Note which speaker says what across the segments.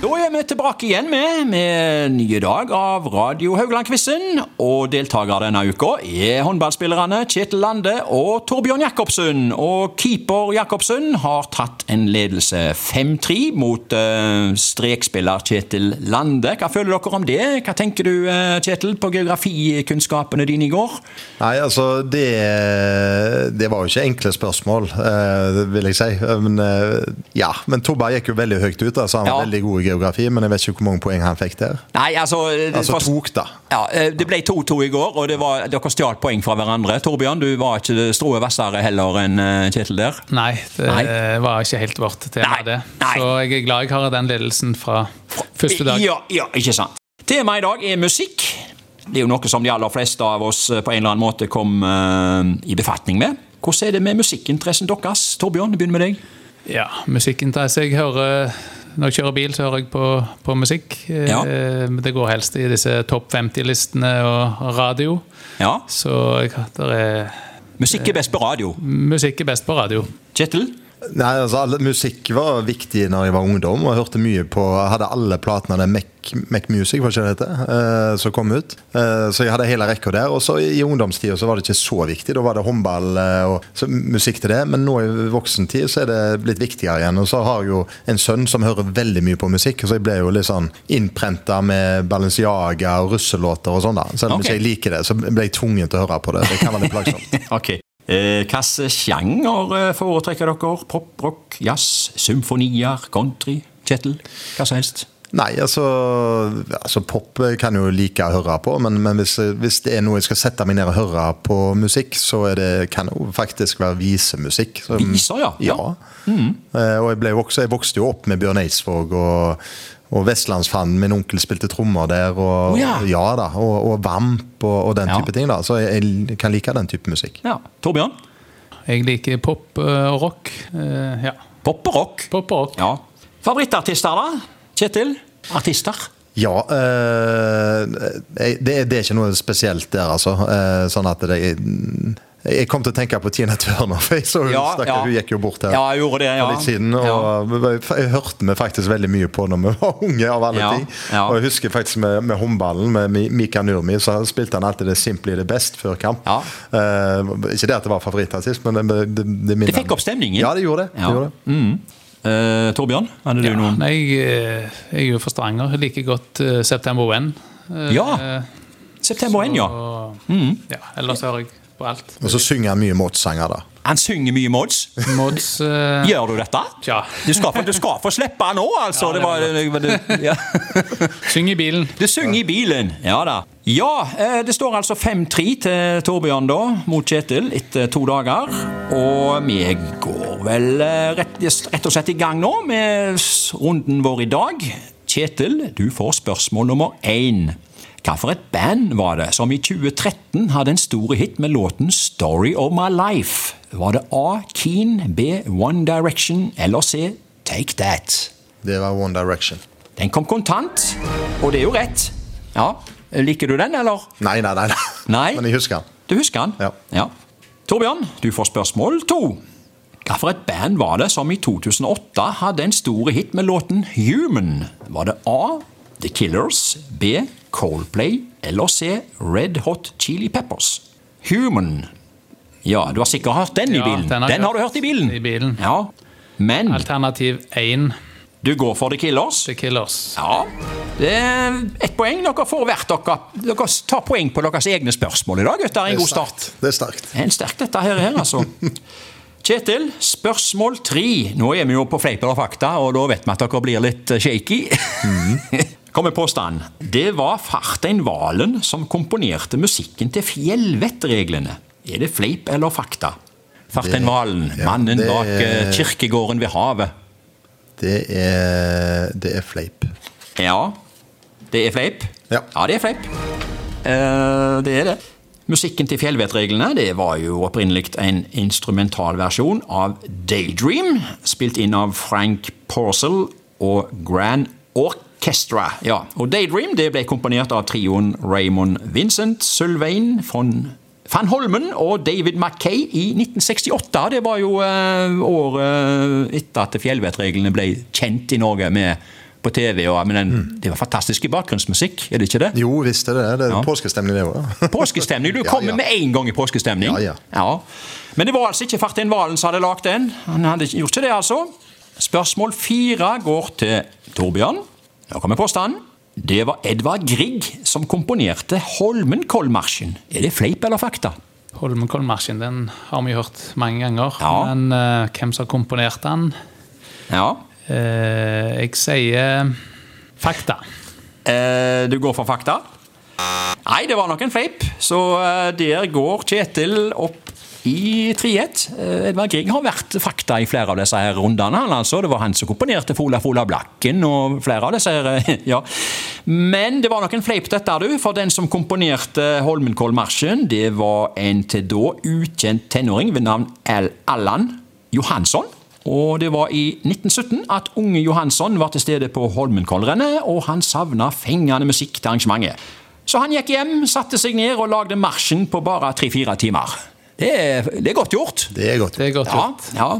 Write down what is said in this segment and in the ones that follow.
Speaker 1: Da er vi tilbake igjen med, med en nye dag av Radio Haugland-quizen. Og deltakere denne uka er håndballspillerne Kjetil Lande og Torbjørn Jacobsen. Og keeper Jacobsen har tatt en ledelse 5-3 mot eh, strekspiller Kjetil Lande. Hva føler dere om det? Hva tenker du, eh, Kjetil, på geografikunnskapene dine i går?
Speaker 2: Nei, altså det, det var jo ikke enkle spørsmål, eh, vil jeg si. Men, eh, ja, men Tobba gikk jo veldig høyt ut. Altså, han var
Speaker 1: Ja.
Speaker 2: veldig god i geografi, men jeg vet ikke hvor mange poeng han fikk der.
Speaker 1: Nei, altså eh,
Speaker 2: Altså
Speaker 1: først-
Speaker 2: tok, da.
Speaker 1: Ja, eh, Det ble 2-2 i går, og det var, dere stjal poeng fra hverandre. Torbjørn, du var ikke det stroe vassere heller enn eh, Kjetil der.
Speaker 3: Nei, det eh,
Speaker 1: Nei.
Speaker 3: var ikke helt vårt tema,
Speaker 1: Nei,
Speaker 3: det.
Speaker 1: nei.
Speaker 3: Så jeg er glad jeg har den ledelsen fra første dag.
Speaker 1: Ja, ja, ikke sant. Temaet i dag er musikk. Det er jo noe som de aller fleste av oss eh, på en eller annen måte kom eh, i befatning med. Hvordan er det med musikkinteressen deres? Torbjørn, jeg begynner med deg.
Speaker 3: Ja, musikkinteresse. Jeg hører Når jeg kjører bil, så hører jeg på, på musikk. Eh,
Speaker 1: Ja.
Speaker 3: Det går helst i disse topp 50-listene og radio.
Speaker 1: Ja,
Speaker 3: Så jeg, der er,
Speaker 1: Musikk er best på radio.
Speaker 3: musikk er best på radio.
Speaker 1: Kjetil?
Speaker 2: Nei, altså alle, Musikk var viktig når jeg var ungdom, og jeg hørte mye på Hadde alle platene av Mac, Mac Music, hva ikke det heter, eh, som kom ut. Eh, så jeg hadde hele rekka der. Og så i i ungdomstida så var det ikke så viktig. Da var det håndball eh, og så musikk til det. Men nå i voksentid så er det blitt viktigere igjen. Og så har jeg jo en sønn som hører veldig mye på musikk, og så jeg ble jo litt sånn innprenta med Balenciaga og russelåter og sånn, da. Selv om
Speaker 1: Ok.
Speaker 2: ikke jeg liker det, så ble jeg tvunget til å høre på det. Det kan være litt plagsomt.
Speaker 1: Ok. Eh, Hvilke sjanger eh, foretrekker dere? Pop, rock, jazz, symfonier, country? Kjetil? Hva som helst?
Speaker 2: Nei, altså, altså Pop kan jeg jo like å høre på, men, men hvis, hvis det er noe jeg skal sette meg ned og høre på musikk, så er det, kan det jo faktisk være visemusikk. Så-
Speaker 1: Viser, ja. Mm.
Speaker 2: Ja. Eh, og jeg, ble jo også, jeg vokste jo opp med Bjørn Eidsvåg og, og Vestlandsfanden. Min onkel spilte trommer der, og,
Speaker 1: Å, ja.
Speaker 2: da, og, og Vamp og, og den
Speaker 1: Ja.
Speaker 2: type ting. da, Så jeg, jeg kan like den type musikk.
Speaker 1: ja. Torbjørn?
Speaker 3: Jeg liker pop eh, og rock. Eh, Ja,
Speaker 1: Pop og rock.
Speaker 3: pop og rock.
Speaker 1: Ja. Favorittartister, da? Kjetil? Artister?
Speaker 2: Ja, eh, det, det er ikke noe spesielt der, altså. Eh, sånn at det Jeg kom til å tenke på Tina Turner, for jeg så hun, stakkar, hun gikk jo bort her
Speaker 1: Ja, jeg gjorde det, ja.
Speaker 2: for litt siden. Og
Speaker 1: Ja.
Speaker 2: jeg, jeg hørte vi faktisk veldig mye på når vi var unge, av alle
Speaker 1: Ja,
Speaker 2: ting.
Speaker 1: ja.
Speaker 2: Og jeg husker faktisk med, med håndballen, med Mi- Mika Nurmi, så spilte han alltid det 'Simply the best' før kamp.
Speaker 1: Ja.
Speaker 2: Eh, ikke det at det var favorittartist, men det, det, det minner
Speaker 1: Det fikk opp stemningen.
Speaker 2: Ja, det gjorde det. det,
Speaker 1: Ja.
Speaker 2: gjorde det.
Speaker 1: Eh, Torbjørn, hadde du
Speaker 3: Ja,
Speaker 1: noen?
Speaker 3: Nei, jeg, eh, jeg er jo fra Stavanger. Jeg liker godt eh, September When. Eh,
Speaker 1: Ja. September 1, ja.
Speaker 3: Og, ja, ellers hører jeg på alt.
Speaker 2: Og så synger han mye Mozzanger, da.
Speaker 1: Han synger mye mods.
Speaker 3: Mods eh,
Speaker 1: Gjør du dette?
Speaker 3: Tja.
Speaker 1: Du skal, få- du skal få slippe han nå, altså.
Speaker 3: Ja,
Speaker 1: det var, det, ja.
Speaker 3: Syng i bilen.
Speaker 1: Du synger i bilen. Ja da. Ja, eh, det står altså 5-3 til Torbjørn da, mot Kjetil, etter to dager. Og vi går vel eh, rett, rett og slett i gang nå med s- runden vår i dag. Kjetil, du får spørsmål nummer én. Hva for et band var det som i 2013 hadde en stor hit med låten 'Story of My Life'? Var det A. Keen, B. One Direction eller C. Take That?
Speaker 2: Det var One Direction.
Speaker 1: Den kom kontant, og det er jo rett. Ja, Liker du den, eller?
Speaker 2: Nei, nei, nei. nei.
Speaker 1: Nei.
Speaker 2: Men jeg husker den.
Speaker 1: Du husker den?
Speaker 2: Ja.
Speaker 1: Torbjørn, du får spørsmål to. Hvilket band var det som i 2008 hadde en stor hit med låten 'Human'? Var det A. The Killers, B. Coldplay eller C. Red Hot Chili Peppers? Human. Ja, du har sikkert hørt den i
Speaker 3: Ja,
Speaker 1: bilen.
Speaker 3: den har jeg
Speaker 1: har du
Speaker 3: hørt
Speaker 1: hørt i bilen.
Speaker 3: i bilen.
Speaker 1: Ja. Men
Speaker 3: Alternativ 1
Speaker 1: du går for The Killers.
Speaker 3: The Killers.
Speaker 1: Ja, det er ett poeng. Dere får hvert dere. Dere tar poeng på deres egne spørsmål i dag, gutter. En god start.
Speaker 2: Det er sterkt.
Speaker 1: Det er en sterk dette her, her altså. Kjetil, spørsmål tre. Nå er vi jo på fleip eller fakta, og da vet vi at dere blir litt eh, shaky.
Speaker 2: Mhm.
Speaker 1: Kommer påstand. Det var Fartein Valen som komponerte musikken til Fjellvettreglene. Er det fleip eller fakta? Fartein Valen,
Speaker 2: ja,
Speaker 1: mannen
Speaker 2: det-
Speaker 1: bak eh, kirkegården ved havet.
Speaker 2: Det er, det er fleip.
Speaker 1: Ja. Det er fleip?
Speaker 2: Ja.
Speaker 1: det er fleip. Eh, det er det. Musikken til Fjellvettreglene det var jo opprinnelig en instrumentalversjon av Daydream, spilt inn av Frank Porcel og Grand Orchestra. Ja, og Daydream det ble komponert av trioen Raymond Vincent, Sylvain von Van Holmen og David Mackay i 1968. Det var jo eh, året etter at fjellvettreglene ble kjent i Norge med på TV. Og, men den, Det var fantastisk bakgrunnsmusikk, er det ikke det?
Speaker 2: Jo, visst er det det. Det er påskestemning, det òg.
Speaker 1: Påskestemning. Du
Speaker 2: Ja,
Speaker 1: kommer
Speaker 2: ja.
Speaker 1: med en gang i påskestemning.
Speaker 2: Ja, ja.
Speaker 1: Men det var altså ikke Fartin Valen som hadde lagd den. Han hadde ikke gjort det, altså. Spørsmål fire går til Torbjørn. Nå kommer påstanden. Det var Edvard Grieg som komponerte Holmenkollmarsjen. Er det fleip eller fakta?
Speaker 3: Holmenkollmarsjen den har vi hørt mange ganger.
Speaker 1: Ja.
Speaker 3: Men eh, hvem som har komponert den?
Speaker 1: Ja.
Speaker 3: Eh, jeg sier fakta.
Speaker 1: Eh, du går for fakta? Nei, det var nok en fleip. Så eh, der går Kjetil opp i 3-1. Eh, Edvard Grieg har vært fakta i flere av disse her rundene. Han, altså. Det var han som komponerte Fola Fola Blakken og flere av disse her. eh, ja. Men det var nok en fleip, dette, du. For den som komponerte Holmenkollmarsjen, det var en til da ukjent tenåring ved navn Al Allan Johansson. Og det var i 1917 at unge Johansson var til stede på Holmenkollrennet, og han savna fengende musikk til arrangementet. Så han gikk hjem, satte seg ned og lagde marsjen på bare tre-fire timer. Det er, det er godt gjort.
Speaker 2: Det er godt.
Speaker 3: Det er godt
Speaker 1: Ja,
Speaker 3: gjort.
Speaker 1: ja.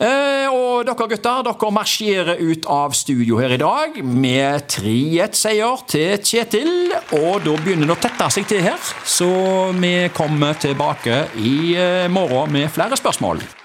Speaker 1: Eh, og dere gutter, dere marsjerer ut av studio her i dag med 3-1-seier til Kjetil. Og da begynner det å tette seg til her, så vi kommer tilbake i eh, morgen med flere spørsmål.